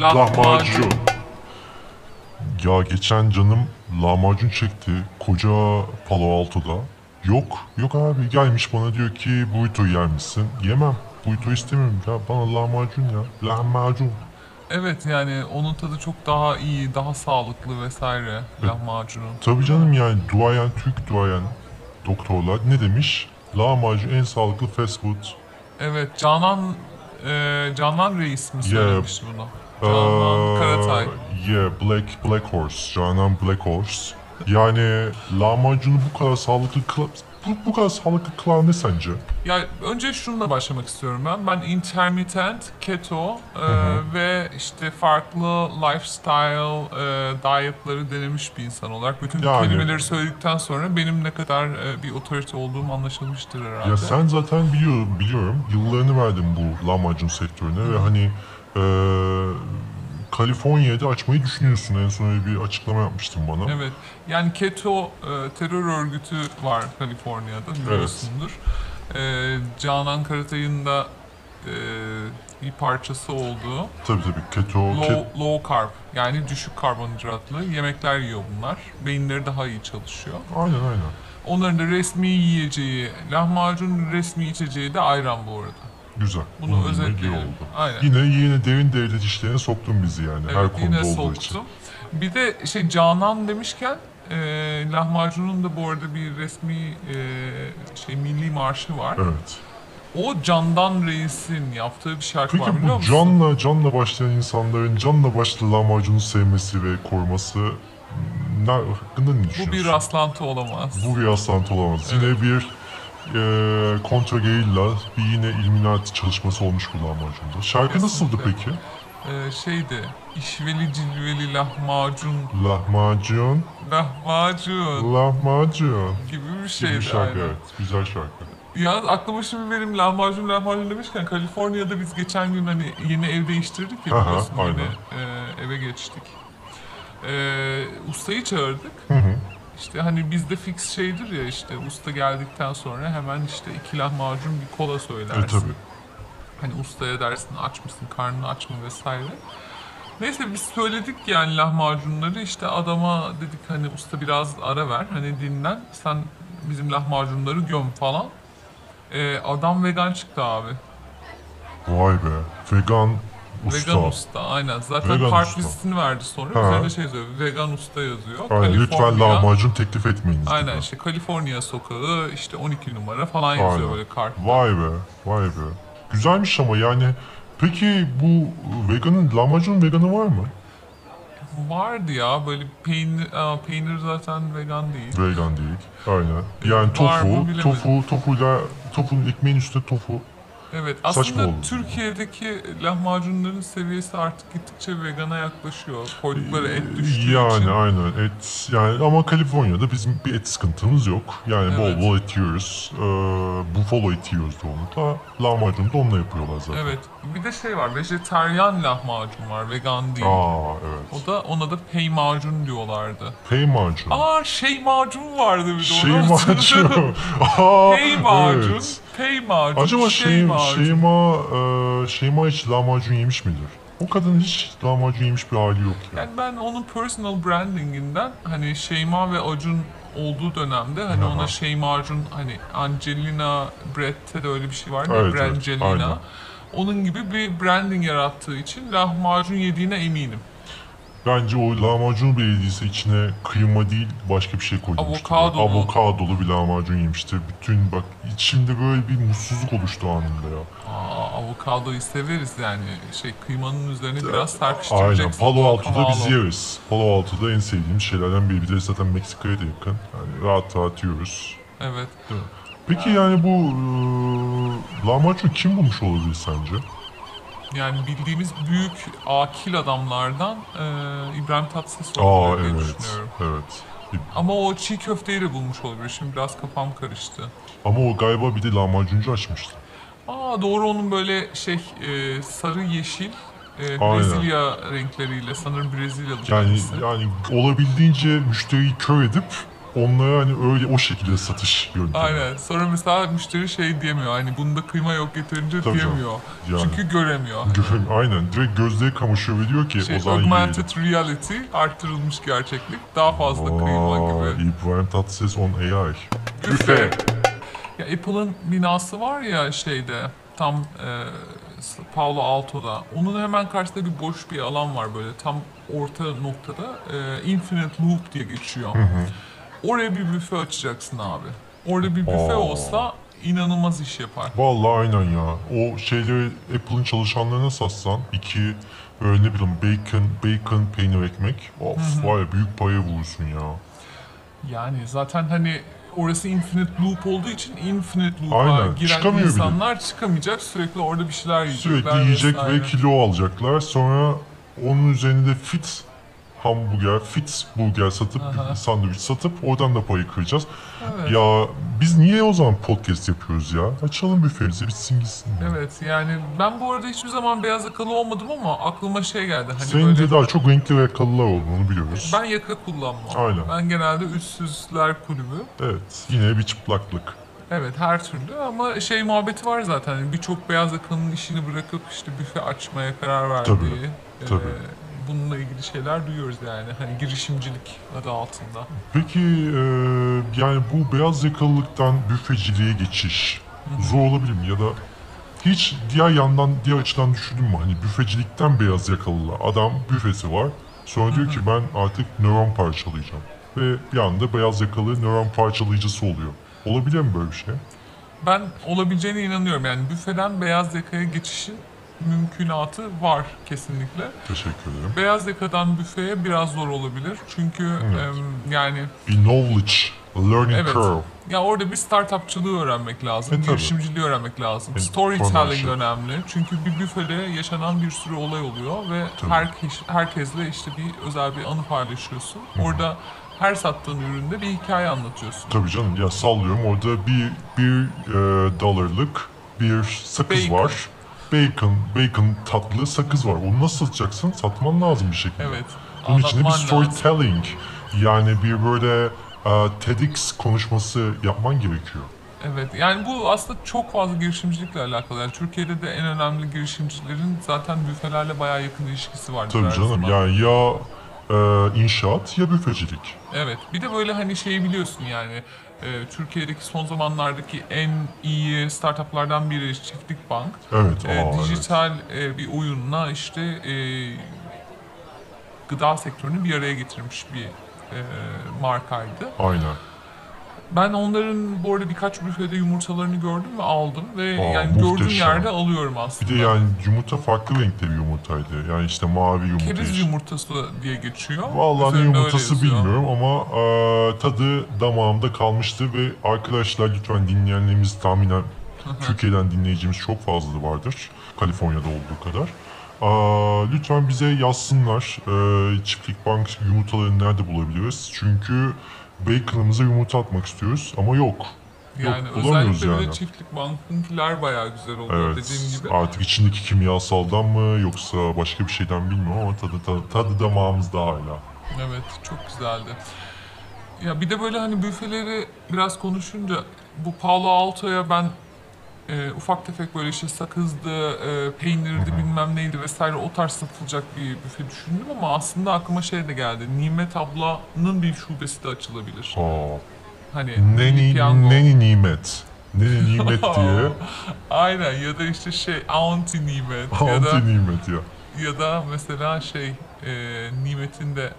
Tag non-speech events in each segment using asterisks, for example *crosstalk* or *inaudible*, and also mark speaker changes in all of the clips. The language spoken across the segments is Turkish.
Speaker 1: Lahmacun.
Speaker 2: Lahmacun. Ya geçen canım lahmacun çekti koca Palo Alto'da. Yok, yok abi gelmiş bana diyor ki buyto yer misin? Yemem. Buyto istemiyorum ya. Bana lahmacun ya. Lahmacun.
Speaker 1: Evet yani onun tadı çok daha iyi, daha sağlıklı vesaire lahmacunun.
Speaker 2: Tabii canım yani duayen Türk duayen doktorlar ne demiş? Lahmacun en sağlıklı fast food.
Speaker 1: Evet Canan e, Canan Reis mi söylemiş bunu? Canan
Speaker 2: Ee,
Speaker 1: Karatay.
Speaker 2: Yeah, Black, Black Horse. Canan Black Horse. Yani lahmacunu bu kadar sağlıklı kıla... Bu, bu kadar sağlıklı kılan ne sence?
Speaker 1: Ya önce şununla başlamak istiyorum ben. Ben intermittent, keto e, ve işte farklı lifestyle e, dietları denemiş bir insan olarak bütün
Speaker 2: Yani.
Speaker 1: kelimeleri söyledikten sonra benim ne kadar e, bir otorite olduğum anlaşılmıştır herhalde.
Speaker 2: Ya sen zaten biliyorum, biliyorum yıllarını verdin bu lahmacun sektörüne ve hani eee Kaliforniya'da açmayı düşünüyorsun. En son öyle bir açıklama yapmıştın bana.
Speaker 1: Evet. Yani Keto e, terör örgütü var Kaliforniya'da biliyorsundur. E, Canan Karatay'ın da e, bir parçası olduğu
Speaker 2: Tabii tabii keto, ke-
Speaker 1: low, low carb yani düşük karbonhidratlı yemekler yiyor bunlar. Beyinleri daha iyi çalışıyor.
Speaker 2: aynen aynen.
Speaker 1: Onların da resmi yiyeceği, lahmacun resmi içeceği de ayran bu arada.
Speaker 2: Güzel.
Speaker 1: Bunu
Speaker 2: Bunun yine iyi
Speaker 1: özetleyelim.
Speaker 2: oldu.
Speaker 1: Aynen.
Speaker 2: Yine yine derin devlet işlerine soktun bizi yani her
Speaker 1: Evet,
Speaker 2: konuda
Speaker 1: yine
Speaker 2: olduğu
Speaker 1: soktu.
Speaker 2: için.
Speaker 1: Bir de şey Canan demişken e, lahmacunun da bu arada bir resmi e, şey milli marşı var.
Speaker 2: Evet.
Speaker 1: O Candan Reis'in yaptığı bir şarkı
Speaker 2: Peki
Speaker 1: var biliyor
Speaker 2: bu
Speaker 1: musun?
Speaker 2: canla canla başlayan insanların canla başlı lahmacunu sevmesi ve koruması ne, hakkında ne düşünüyorsun?
Speaker 1: Bu bir rastlantı olamaz.
Speaker 2: Bu bir rastlantı olamaz. Yine bir e, kontra gerilla, bir yine Illuminati çalışması olmuş bu lahmacunda. Şarkı nasıldı peki?
Speaker 1: E, şeydi işveli cilveli lahmacun
Speaker 2: Lahmacun,
Speaker 1: lahmacun
Speaker 2: lahmacun
Speaker 1: gibi bir şeydi.
Speaker 2: gibi bir şarkı
Speaker 1: aynen.
Speaker 2: evet. Güzel şarkı.
Speaker 1: Ya aklıma şimdi benim lahmacun lahmacun demişken Kaliforniya'da biz geçen gün hani yeni ev değiştirdik ya
Speaker 2: Aha,
Speaker 1: biliyorsun yine
Speaker 2: aynen.
Speaker 1: e, eve geçtik. E, ustayı çağırdık.
Speaker 2: hı.
Speaker 1: İşte hani bizde fix şeydir ya işte usta geldikten sonra hemen işte iki lahmacun bir kola söylersin.
Speaker 2: E tabi.
Speaker 1: Hani ustaya dersin aç mısın, karnını aç mı vesaire. Neyse biz söyledik yani lahmacunları işte adama dedik hani usta biraz ara ver hani dinlen sen bizim lahmacunları göm falan. Ee, adam vegan çıktı abi.
Speaker 2: Vay be. Vegan usta.
Speaker 1: Vegan usta aynen. Zaten
Speaker 2: Vegan
Speaker 1: park
Speaker 2: usta.
Speaker 1: listesini verdi sonra.
Speaker 2: Ha.
Speaker 1: Üzerine şey yazıyor. Vegan usta yazıyor.
Speaker 2: Aynen, lütfen
Speaker 1: Kaliforniya-
Speaker 2: lahmacun teklif etmeyiniz.
Speaker 1: Aynen
Speaker 2: gibi.
Speaker 1: işte Kaliforniya sokağı işte 12 numara falan yazıyor
Speaker 2: Aynen.
Speaker 1: böyle kart.
Speaker 2: Vay be, vay be. Güzelmiş ama yani. Peki bu veganın, lahmacunun veganı var mı?
Speaker 1: Vardı ya böyle peynir, aa, peynir zaten vegan değil.
Speaker 2: Vegan değil. Aynen. Yani
Speaker 1: Var mı
Speaker 2: tofu,
Speaker 1: bilemedim.
Speaker 2: tofu, tofuyla, tofunun ekmeğin üstüne tofu.
Speaker 1: Evet
Speaker 2: Saçma
Speaker 1: aslında
Speaker 2: oldu.
Speaker 1: Türkiye'deki lahmacunların seviyesi artık gittikçe vegana yaklaşıyor. Koydukları et düştüğü
Speaker 2: Ee, yani
Speaker 1: için.
Speaker 2: aynen et yani ama Kaliforniya'da bizim bir et sıkıntımız yok. Yani
Speaker 1: Evet.
Speaker 2: bol bol et yiyoruz. Ee, buffalo eti yiyoruz çoğunlukla. Lahmacun da onunla yapıyorlar zaten.
Speaker 1: Evet. Bir de şey var. Vejetaryen lahmacun var. Vegan değil.
Speaker 2: Aa evet.
Speaker 1: O da ona da peymacun diyorlardı.
Speaker 2: Peymacun.
Speaker 1: Aa şey macun vardı bir de *laughs* onu hatırlıyorum. *laughs*
Speaker 2: Şeymacun. Şey Aa
Speaker 1: Peymacun,
Speaker 2: *laughs* evet.
Speaker 1: peymacun,
Speaker 2: Acaba şey,
Speaker 1: şeymacun.
Speaker 2: Şeyma, e, Şeyma hiç lahmacun yemiş midir? O kadın hiç lahmacun yemiş bir hali yok ya.
Speaker 1: Yani ben onun personal brandinginden hani Şeyma ve Acun olduğu dönemde hani
Speaker 2: Aha.
Speaker 1: ona Şeyma Acun hani Angelina Brett'te de öyle bir şey var ya
Speaker 2: Evet, evet,
Speaker 1: Brangelina.
Speaker 2: aynen.
Speaker 1: Onun gibi bir branding yarattığı için lahmacun yediğine eminim.
Speaker 2: Bence o lahmacun belediyesi içine kıyma değil başka bir şey koymuştu.
Speaker 1: Avokado mu?
Speaker 2: Avokadolu bir lahmacun yemişti. Bütün bak içimde böyle bir mutsuzluk oluştu anında ya.
Speaker 1: Aa, avokadoyu severiz yani şey kıymanın üzerine biraz
Speaker 2: Aynen.
Speaker 1: serpiştireceksin.
Speaker 2: Palo Alto'da biz
Speaker 1: Avokado.
Speaker 2: yeriz. Palo Alto'da en sevdiğim şeylerden biri. Bir de zaten Meksika'ya da yakın. Yani rahat rahat yiyoruz.
Speaker 1: Evet.
Speaker 2: Peki yani bu eee, lahmacun kim bulmuş olabilir sence?
Speaker 1: Yani bildiğimiz büyük akil adamlardan e, İbrahim Tatlıses
Speaker 2: Aa
Speaker 1: olduğunu
Speaker 2: evet.
Speaker 1: düşünüyorum.
Speaker 2: Evet.
Speaker 1: Ama o çiğ köfteyi de bulmuş olabilir. Şimdi biraz kafam karıştı.
Speaker 2: Ama o galiba bir de lahmacuncu açmıştı.
Speaker 1: Aa doğru onun böyle şey e, sarı yeşil e,
Speaker 2: Aynen.
Speaker 1: Brezilya renkleriyle sanırım Brezilyalı
Speaker 2: Yani
Speaker 1: kendisi.
Speaker 2: yani olabildiğince müşteriyi kör edip onlara hani öyle o şekilde satış yöntemi.
Speaker 1: Aynen. Sonra mesela müşteri şey diyemiyor. Hani bunda kıyma yok yeterince
Speaker 2: Tabii canım.
Speaker 1: diyemiyor.
Speaker 2: Yani.
Speaker 1: Çünkü göremiyor.
Speaker 2: Göre- *laughs* aynen. Direkt gözleri kamaşıyor ve diyor ki
Speaker 1: Şey,
Speaker 2: o zaman
Speaker 1: augmented reality, artırılmış gerçeklik, daha fazla kıyma gibi.
Speaker 2: yiyelim. Aa, İbrahim Tatlıses on AI.
Speaker 1: Büfe. Ya Apple'ın binası var ya şeyde tam e, Palo Alto'da. Onun hemen karşısında bir boş bir alan var böyle tam orta noktada. e, Infinite Loop diye geçiyor. Oraya bir büfe açacaksın abi. Orada bir büfe
Speaker 2: Aa.
Speaker 1: olsa inanılmaz iş yapar.
Speaker 2: Vallahi aynen ya. O şeyleri Apple'ın çalışanlarına satsan iki öyle ne bileyim bacon, bacon peynir ekmek. Of var ya büyük paya vurursun ya.
Speaker 1: Yani zaten hani orası infinite loop olduğu için infinite loop'a
Speaker 2: Aynen,
Speaker 1: giren
Speaker 2: çıkamıyor bile.
Speaker 1: insanlar çıkamayacak. Sürekli orada bir şeyler yiyecekler.
Speaker 2: Sürekli yiyecek
Speaker 1: vesaire.
Speaker 2: ve kilo alacaklar. Sonra onun üzerine de fit hamburger, fit burger satıp
Speaker 1: Aha.
Speaker 2: sandviç satıp oradan da payı kıracağız.
Speaker 1: Evet.
Speaker 2: Ya biz niye o zaman podcast yapıyoruz ya? Açalım büfemizi bitsin gitsin. ya.
Speaker 1: Evet yani ben bu arada hiçbir zaman beyaz yakalı olmadım ama aklıma şey geldi. Hani
Speaker 2: Senin
Speaker 1: böyle
Speaker 2: de daha çok renkli ve yakalılar olduğunu biliyoruz.
Speaker 1: ben yaka kullanmam.
Speaker 2: Aynen.
Speaker 1: Ben genelde üstsüzler kulübü.
Speaker 2: Evet. Yine bir çıplaklık.
Speaker 1: Evet her türlü ama şey muhabbeti var zaten. Hani Birçok beyaz yakalının işini bırakıp işte büfe açmaya karar verdiği.
Speaker 2: Tabii,
Speaker 1: e,
Speaker 2: tabii.
Speaker 1: bununla ilgili şeyler duyuyoruz yani. Hani girişimcilik adı altında.
Speaker 2: Peki eee, yani bu beyaz yakalılıktan büfeciliğe geçiş zor olabilir mi? Ya da hiç diğer yandan, diğer açıdan düşündün mü? Hani büfecilikten beyaz yakalılığa. Adam büfesi var. Sonra diyor ki ben artık nöron parçalayacağım. Ve bir anda beyaz yakalı nöron parçalayıcısı oluyor. Olabilir mi böyle bir şey?
Speaker 1: Ben olabileceğine inanıyorum. Yani büfeden beyaz yakaya geçişin mümkünatı var kesinlikle.
Speaker 2: Teşekkür ederim.
Speaker 1: Beyaz yakadan büfeye biraz zor olabilir. Çünkü
Speaker 2: Evet.
Speaker 1: em, yani
Speaker 2: Bir knowledge, a learning
Speaker 1: Evet.
Speaker 2: curve.
Speaker 1: ya orada bir startupçılığı öğrenmek lazım,
Speaker 2: E, tabii.
Speaker 1: girişimciliği öğrenmek lazım.
Speaker 2: E,
Speaker 1: Storytelling
Speaker 2: partnership.
Speaker 1: önemli. Çünkü bir büfede yaşanan bir sürü olay oluyor ve
Speaker 2: Tabii.
Speaker 1: herkes herkesle işte bir özel bir anı paylaşıyorsun. Orada her sattığın üründe bir hikaye anlatıyorsun.
Speaker 2: Tabii canım ya sallıyorum orada bir, bir e, dolarlık bir sakız
Speaker 1: Bacon.
Speaker 2: var. Bacon, bacon tatlı sakız var. Onu nasıl satacaksın? Satman lazım bir şekilde.
Speaker 1: Evet.
Speaker 2: Bunun içinde bir
Speaker 1: anlatman lazım.
Speaker 2: storytelling. Yani bir böyle e, TEDx konuşması yapman gerekiyor.
Speaker 1: Evet yani bu aslında çok fazla girişimcilikle alakalı. Yani Türkiye'de de en önemli girişimcilerin zaten büfelerle bayağı yakın ilişkisi vardır
Speaker 2: Tabii
Speaker 1: her
Speaker 2: canım
Speaker 1: zaman.
Speaker 2: yani ya e, inşaat ya büfecilik.
Speaker 1: Evet bir de böyle hani şeyi biliyorsun yani e, Türkiye'deki son zamanlardaki en iyi startuplardan biri Çiftlik Bank.
Speaker 2: Evet.
Speaker 1: E,
Speaker 2: aa, evet.
Speaker 1: dijital e, bir oyunla işte e, gıda sektörünü bir araya getirmiş bir e, markaydı.
Speaker 2: Aynen.
Speaker 1: Ben onların bu arada birkaç büfede yumurtalarını gördüm ve aldım ve
Speaker 2: Aa,
Speaker 1: yani gördüğüm
Speaker 2: muhteşem.
Speaker 1: yerde alıyorum
Speaker 2: Bir
Speaker 1: aslında.
Speaker 2: de yani yumurta farklı renkte bir yumurtaydı. Yani işte mavi yumurta.
Speaker 1: Keriz
Speaker 2: işte.
Speaker 1: yumurtası diye geçiyor.
Speaker 2: Vallahi ne
Speaker 1: Üzerinde öyle
Speaker 2: yumurtası
Speaker 1: yazıyor.
Speaker 2: bilmiyorum ama e, tadı damağımda kalmıştı ve arkadaşlar lütfen dinleyenlerimiz tahminen Türkiye'den dinleyicimiz çok fazla vardır. Kaliforniya'da olduğu kadar. E, lütfen bize yazsınlar. E, Çiftlik Bank yumurtalarını nerede bulabiliriz? Çünkü bacon'ımıza yumurta atmak istiyoruz ama yok.
Speaker 1: Yani
Speaker 2: Yok, bulamıyoruz
Speaker 1: özellikle bir de
Speaker 2: yani.
Speaker 1: çiftlik bankınkiler bayağı güzel oluyor
Speaker 2: Evet.
Speaker 1: dediğim gibi.
Speaker 2: Artık içindeki kimyasaldan mı yoksa başka bir şeyden bilmiyorum ama tadı, tadı, tadı damağımızda hala.
Speaker 1: Evet çok güzeldi. Ya bir de böyle hani büfeleri biraz konuşunca bu Palo Alto'ya ben e, ufak tefek böyle işte sakızdı, e, peynirdi bilmem neydi vesaire o tarz satılacak bir büfe düşündüm ama aslında aklıma şey de geldi. Nimet ablanın bir şubesi de açılabilir.
Speaker 2: Aa,
Speaker 1: Hani
Speaker 2: Neni,
Speaker 1: piyango.
Speaker 2: neni nimet.
Speaker 1: *laughs*
Speaker 2: Neni nimet diye.
Speaker 1: Aynen ya da işte şey Auntie Nimet ya da
Speaker 2: Anti nimet ya.
Speaker 1: ya da mesela şey e, Nimet'in de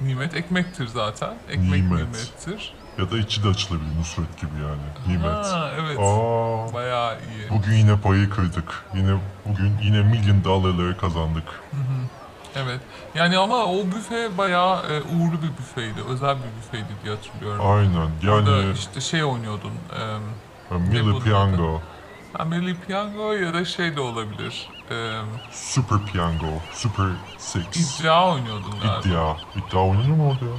Speaker 1: Nimet ekmektir zaten. Ekmek
Speaker 2: Nimet.
Speaker 1: nimettir.
Speaker 2: Ya da içi de açılabilir Nusret gibi yani. Nimet.
Speaker 1: Ha, evet.
Speaker 2: Aa,
Speaker 1: Bayağı iyi.
Speaker 2: bugün yine payı kırdık. Yine bugün yine milyon dolarları kazandık.
Speaker 1: Evet. Yani ama o büfe bayağı e, uğurlu bir büfeydi. Özel bir büfeydi diye hatırlıyorum.
Speaker 2: Aynen.
Speaker 1: Orada
Speaker 2: Yani
Speaker 1: işte şey oynuyordun. E,
Speaker 2: Milli
Speaker 1: bunun
Speaker 2: Piyango,
Speaker 1: Amelie Piango ya da şey de olabilir. E,
Speaker 2: Super Piyango, Super Six,
Speaker 1: iddia oynuyordun galiba.
Speaker 2: İddia. İddia oynanıyor mu orada ya?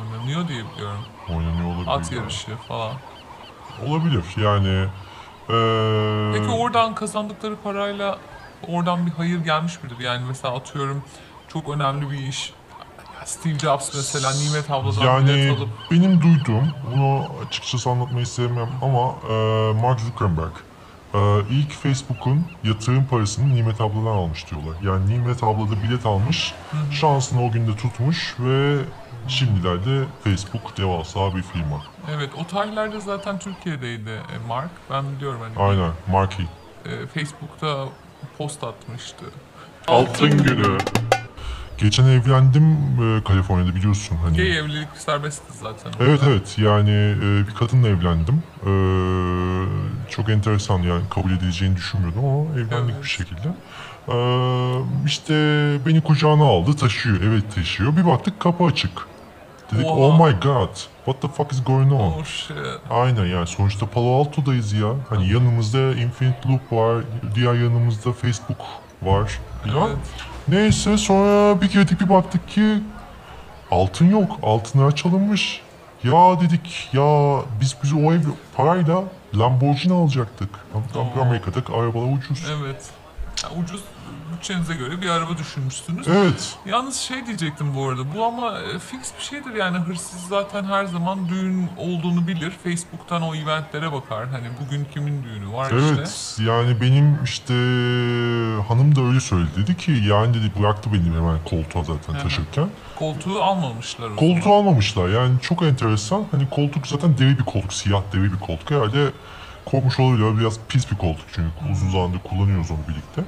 Speaker 1: Oynanıyor diye biliyorum.
Speaker 2: Oynanıyor olabilir.
Speaker 1: At
Speaker 2: ya.
Speaker 1: yarışı falan.
Speaker 2: Olabilir yani. Ee,
Speaker 1: Peki oradan kazandıkları parayla oradan bir hayır gelmiş midir? Yani mesela atıyorum çok önemli bir iş Steve Jobs mesela Nimet abladan
Speaker 2: Yani
Speaker 1: bilet alıp
Speaker 2: benim duyduğum, bunu açıkçası anlatmayı sevmem ama e, Mark Zuckerberg e, ilk Facebook'un yatırım parasını Nimet abladan almış diyorlar. Yani Nimet abla da bilet almış, şansını o günde tutmuş ve şimdilerde Facebook devasa bir firma.
Speaker 1: evet o tarihlerde zaten Türkiye'deydi e, Mark. Ben biliyorum hani
Speaker 2: Aynen, Marky.
Speaker 1: e, Facebook'ta post atmıştı.
Speaker 2: günü. Geçen evlendim e, Kaliforniya'da biliyorsun hani.
Speaker 1: Gay evlilik serbestti zaten.
Speaker 2: Evet evet yani e, bir kadınla evlendim. E, çok enteresan yani kabul edileceğini düşünmüyordum ama evlendik
Speaker 1: Evet.
Speaker 2: bir şekilde. E, işte beni kucağına aldı taşıyor evet taşıyor. Bir baktık kapı açık. Dedik
Speaker 1: Oha.
Speaker 2: oh my god what the fuck is going on?
Speaker 1: Oh shit.
Speaker 2: Aynen yani sonuçta Palo Alto'dayız ya. Hani yanımızda Infinite Loop var, diğer yanımızda Facebook var. filan.
Speaker 1: Evet.
Speaker 2: Neyse sonra bir girdik bir baktık ki altın yok, altınlar çalınmış. Ya dedik ya biz biz o ev parayla Lamborghini alacaktık. Am-
Speaker 1: Oo.
Speaker 2: Amerika'daki arabalar ucuz.
Speaker 1: Evet. Ya ucuz bütçenize göre bir araba düşünmüşsünüz.
Speaker 2: Evet.
Speaker 1: Yalnız şey diyecektim bu arada. Bu ama e, fix bir şeydir yani hırsız zaten her zaman düğün olduğunu bilir. Facebook'tan o eventlere bakar. Hani bugün kimin düğünü var
Speaker 2: Evet
Speaker 1: işte.
Speaker 2: yani benim işte hanım da öyle söyledi dedi ki yani dedi bıraktı beni hemen koltuğa zaten
Speaker 1: hı.
Speaker 2: taşırken.
Speaker 1: Koltuğu almamışlar o zaman.
Speaker 2: Koltuğu almamışlar yani çok enteresan. Hani koltuk zaten deri bir koltuk, siyah deri bir koltuk. Herhalde korkmuş olabilir biraz pis bir koltuk çünkü uzun zamandır kullanıyoruz onu birlikte.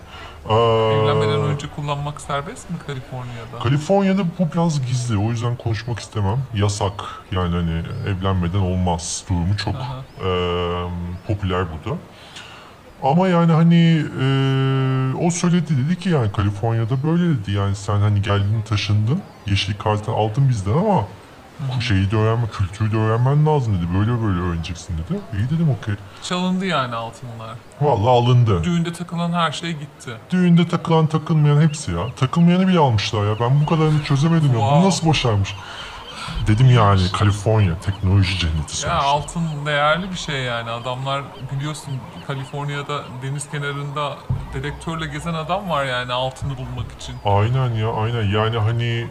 Speaker 2: Ee,
Speaker 1: Evlenmeden önce kullanmak serbest mi Kaliforniya'da?
Speaker 2: Kaliforniya'da bu biraz gizli o yüzden konuşmak istemem. Yasak yani hani evlenmeden olmaz durumu çok
Speaker 1: Aha.
Speaker 2: ee, popüler burada. Ama yani hani ee, o söyledi dedi ki yani Kaliforniya'da böyle dedi yani sen hani geldin taşındın yeşil kartı aldın bizden ama şeyi de öğrenme, kültürü de öğrenmen lazım dedi. Böyle böyle öğreneceksin dedi. İyi dedim okey.
Speaker 1: Çalındı yani altınlar.
Speaker 2: Vallahi alındı.
Speaker 1: Düğünde takılan her şey gitti.
Speaker 2: Düğünde takılan takılmayan hepsi ya. Takılmayanı bile almışlar ya. Ben bu kadarını çözemedim ya. Bunu
Speaker 1: Wow.
Speaker 2: nasıl başarmış? Dedim yani Kaliforniya teknoloji cenneti
Speaker 1: Ya
Speaker 2: sonuçta.
Speaker 1: altın değerli bir şey yani. Adamlar biliyorsun Kaliforniya'da deniz kenarında dedektörle gezen adam var yani altını bulmak için.
Speaker 2: Aynen ya aynen yani hani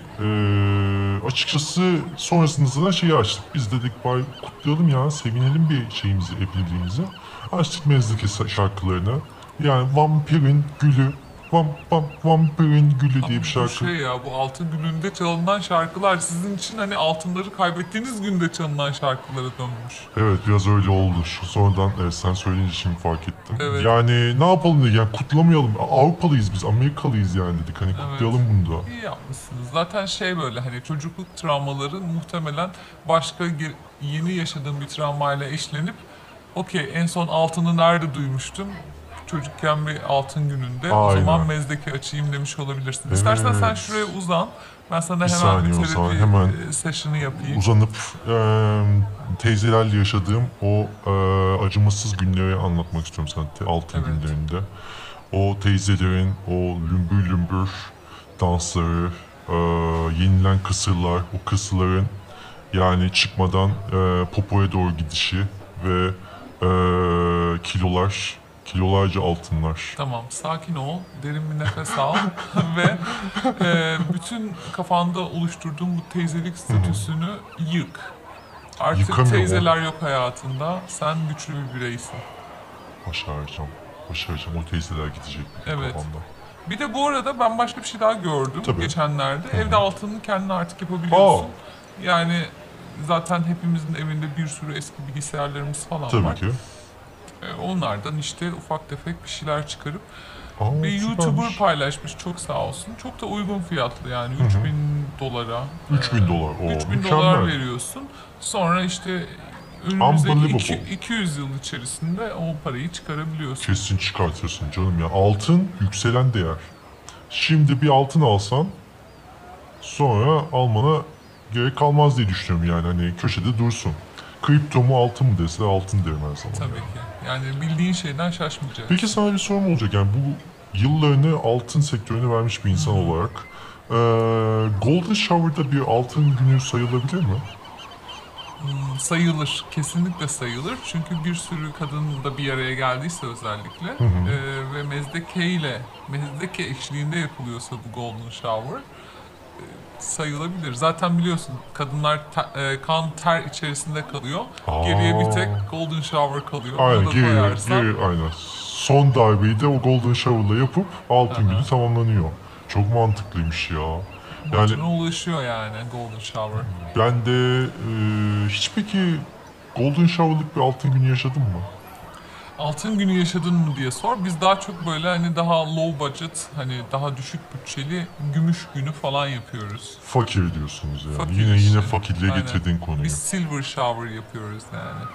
Speaker 2: eee, açıkçası sonrasında da şeyi açtık. Biz dedik bay kutlayalım ya sevinelim bir şeyimizi evliliğimizi. Açtık mezdeki sa- şarkılarını. Yani vampirin gülü vam vam vampirin gülü diye bir
Speaker 1: Bu
Speaker 2: şarkı.
Speaker 1: şey ya bu altın gününde çalınan şarkılar sizin için hani altınları kaybettiğiniz günde çalınan şarkılara dönmüş.
Speaker 2: Evet biraz öyle oldu. Şu sonradan evet, sen söyleyince şimdi fark ettim.
Speaker 1: Evet.
Speaker 2: Yani ne yapalım dedik yani kutlamayalım. Avrupalıyız biz Amerikalıyız yani dedik hani kutlayalım bunu da.
Speaker 1: İyi yapmışsınız. Zaten şey böyle hani çocukluk travmaları muhtemelen başka ge- yeni yaşadığım bir travmayla eşlenip okey en son altını nerede duymuştum? Çocukken bir altın gününde o
Speaker 2: Aynen.
Speaker 1: zaman mezdeki açayım demiş olabilirsin. İstersen sen
Speaker 2: Evet.
Speaker 1: şuraya uzan. Ben sana
Speaker 2: Bir
Speaker 1: hemen
Speaker 2: saniye o
Speaker 1: bir
Speaker 2: zaman,
Speaker 1: terapi
Speaker 2: hemen
Speaker 1: e, session'ı yapayım.
Speaker 2: Uzanıp eee teyzelerle yaşadığım o eee, acımasız günleri anlatmak istiyorum sana. te- Altın
Speaker 1: Evet.
Speaker 2: günlerinde. O teyzelerin o lümbür lümbür dansları, eee, yenilen kısırlar, o kısırların yani çıkmadan eee, popoya doğru gidişi ve eee, kilolar, kilolarca altınlar.
Speaker 1: Tamam, sakin ol, derin bir nefes al *laughs* ve e, bütün kafanda oluşturduğun bu teyzelik statüsünü yık. Artık
Speaker 2: Yıkamıyorum.
Speaker 1: teyzeler yok hayatında, sen güçlü bir bireysin.
Speaker 2: Başaracağım, başaracağım. O teyzeler gidecek benim
Speaker 1: Evet.
Speaker 2: kafamdan.
Speaker 1: Bir de bu arada ben başka bir şey daha gördüm
Speaker 2: Tabii. Oh!
Speaker 1: geçenlerde. Evde altını kendin artık yapabiliyorsun. Yani zaten hepimizin evinde bir sürü eski bilgisayarlarımız falan var.
Speaker 2: Tabii ki.
Speaker 1: E, onlardan işte ufak tefek bir şeyler çıkarıp
Speaker 2: Aa,
Speaker 1: Bir YouTuber
Speaker 2: süpermiş.
Speaker 1: paylaşmış çok sağ olsun. Çok da uygun fiyatlı yani 3000 dolara.
Speaker 2: 3000 dolar. Oo,
Speaker 1: 3000
Speaker 2: mükemmel.
Speaker 1: dolar veriyorsun. Sonra işte önümüzdeki
Speaker 2: Unbelievable.
Speaker 1: iki- 200 yıl içerisinde o parayı çıkarabiliyorsun.
Speaker 2: Kesin çıkartırsın canım ya. Altın yükselen değer. Şimdi bir altın alsan sonra almana gerek kalmaz diye düşünüyorum yani hani köşede dursun. Kripto mu altın mı dese altın derim her zaman.
Speaker 1: Tabii ki. Yani bildiğin şeyden şaşmayacak.
Speaker 2: Peki sana bir sorum olacak yani bu yıllarını altın sektörüne vermiş bir insan olarak eee, Golden Shower'da bir altın günü sayılabilir mi?
Speaker 1: Hmm, Sayılır. Kesinlikle sayılır. Çünkü bir sürü kadın da bir araya geldiyse özellikle e, ve mezdeke ile mezdeke eşliğinde yapılıyorsa bu golden shower sayılabilir. Zaten biliyorsun kadınlar te- e, kan ter içerisinde kalıyor.
Speaker 2: Aa.
Speaker 1: Geriye bir tek golden shower kalıyor. Onu
Speaker 2: Aynen
Speaker 1: da
Speaker 2: geri,
Speaker 1: koyarsan-
Speaker 2: geri aynen. Son darbeyi de o Golden Shower'la yapıp altın günü tamamlanıyor. Çok mantıklıymış ya. Yani
Speaker 1: Buna ulaşıyor yani Golden Shower.
Speaker 2: ben de e, hiç peki Golden Shower'lık bir altın günü yaşadın mı?
Speaker 1: Altın günü yaşadın mı diye sor. Biz daha çok böyle hani daha low budget, hani daha düşük bütçeli gümüş günü falan yapıyoruz.
Speaker 2: Fakir diyorsunuz yani.
Speaker 1: Fakir
Speaker 2: yine
Speaker 1: işte.
Speaker 2: yine fakirliğe
Speaker 1: Aynen.
Speaker 2: getirdin konuyu.
Speaker 1: Biz silver shower yapıyoruz yani.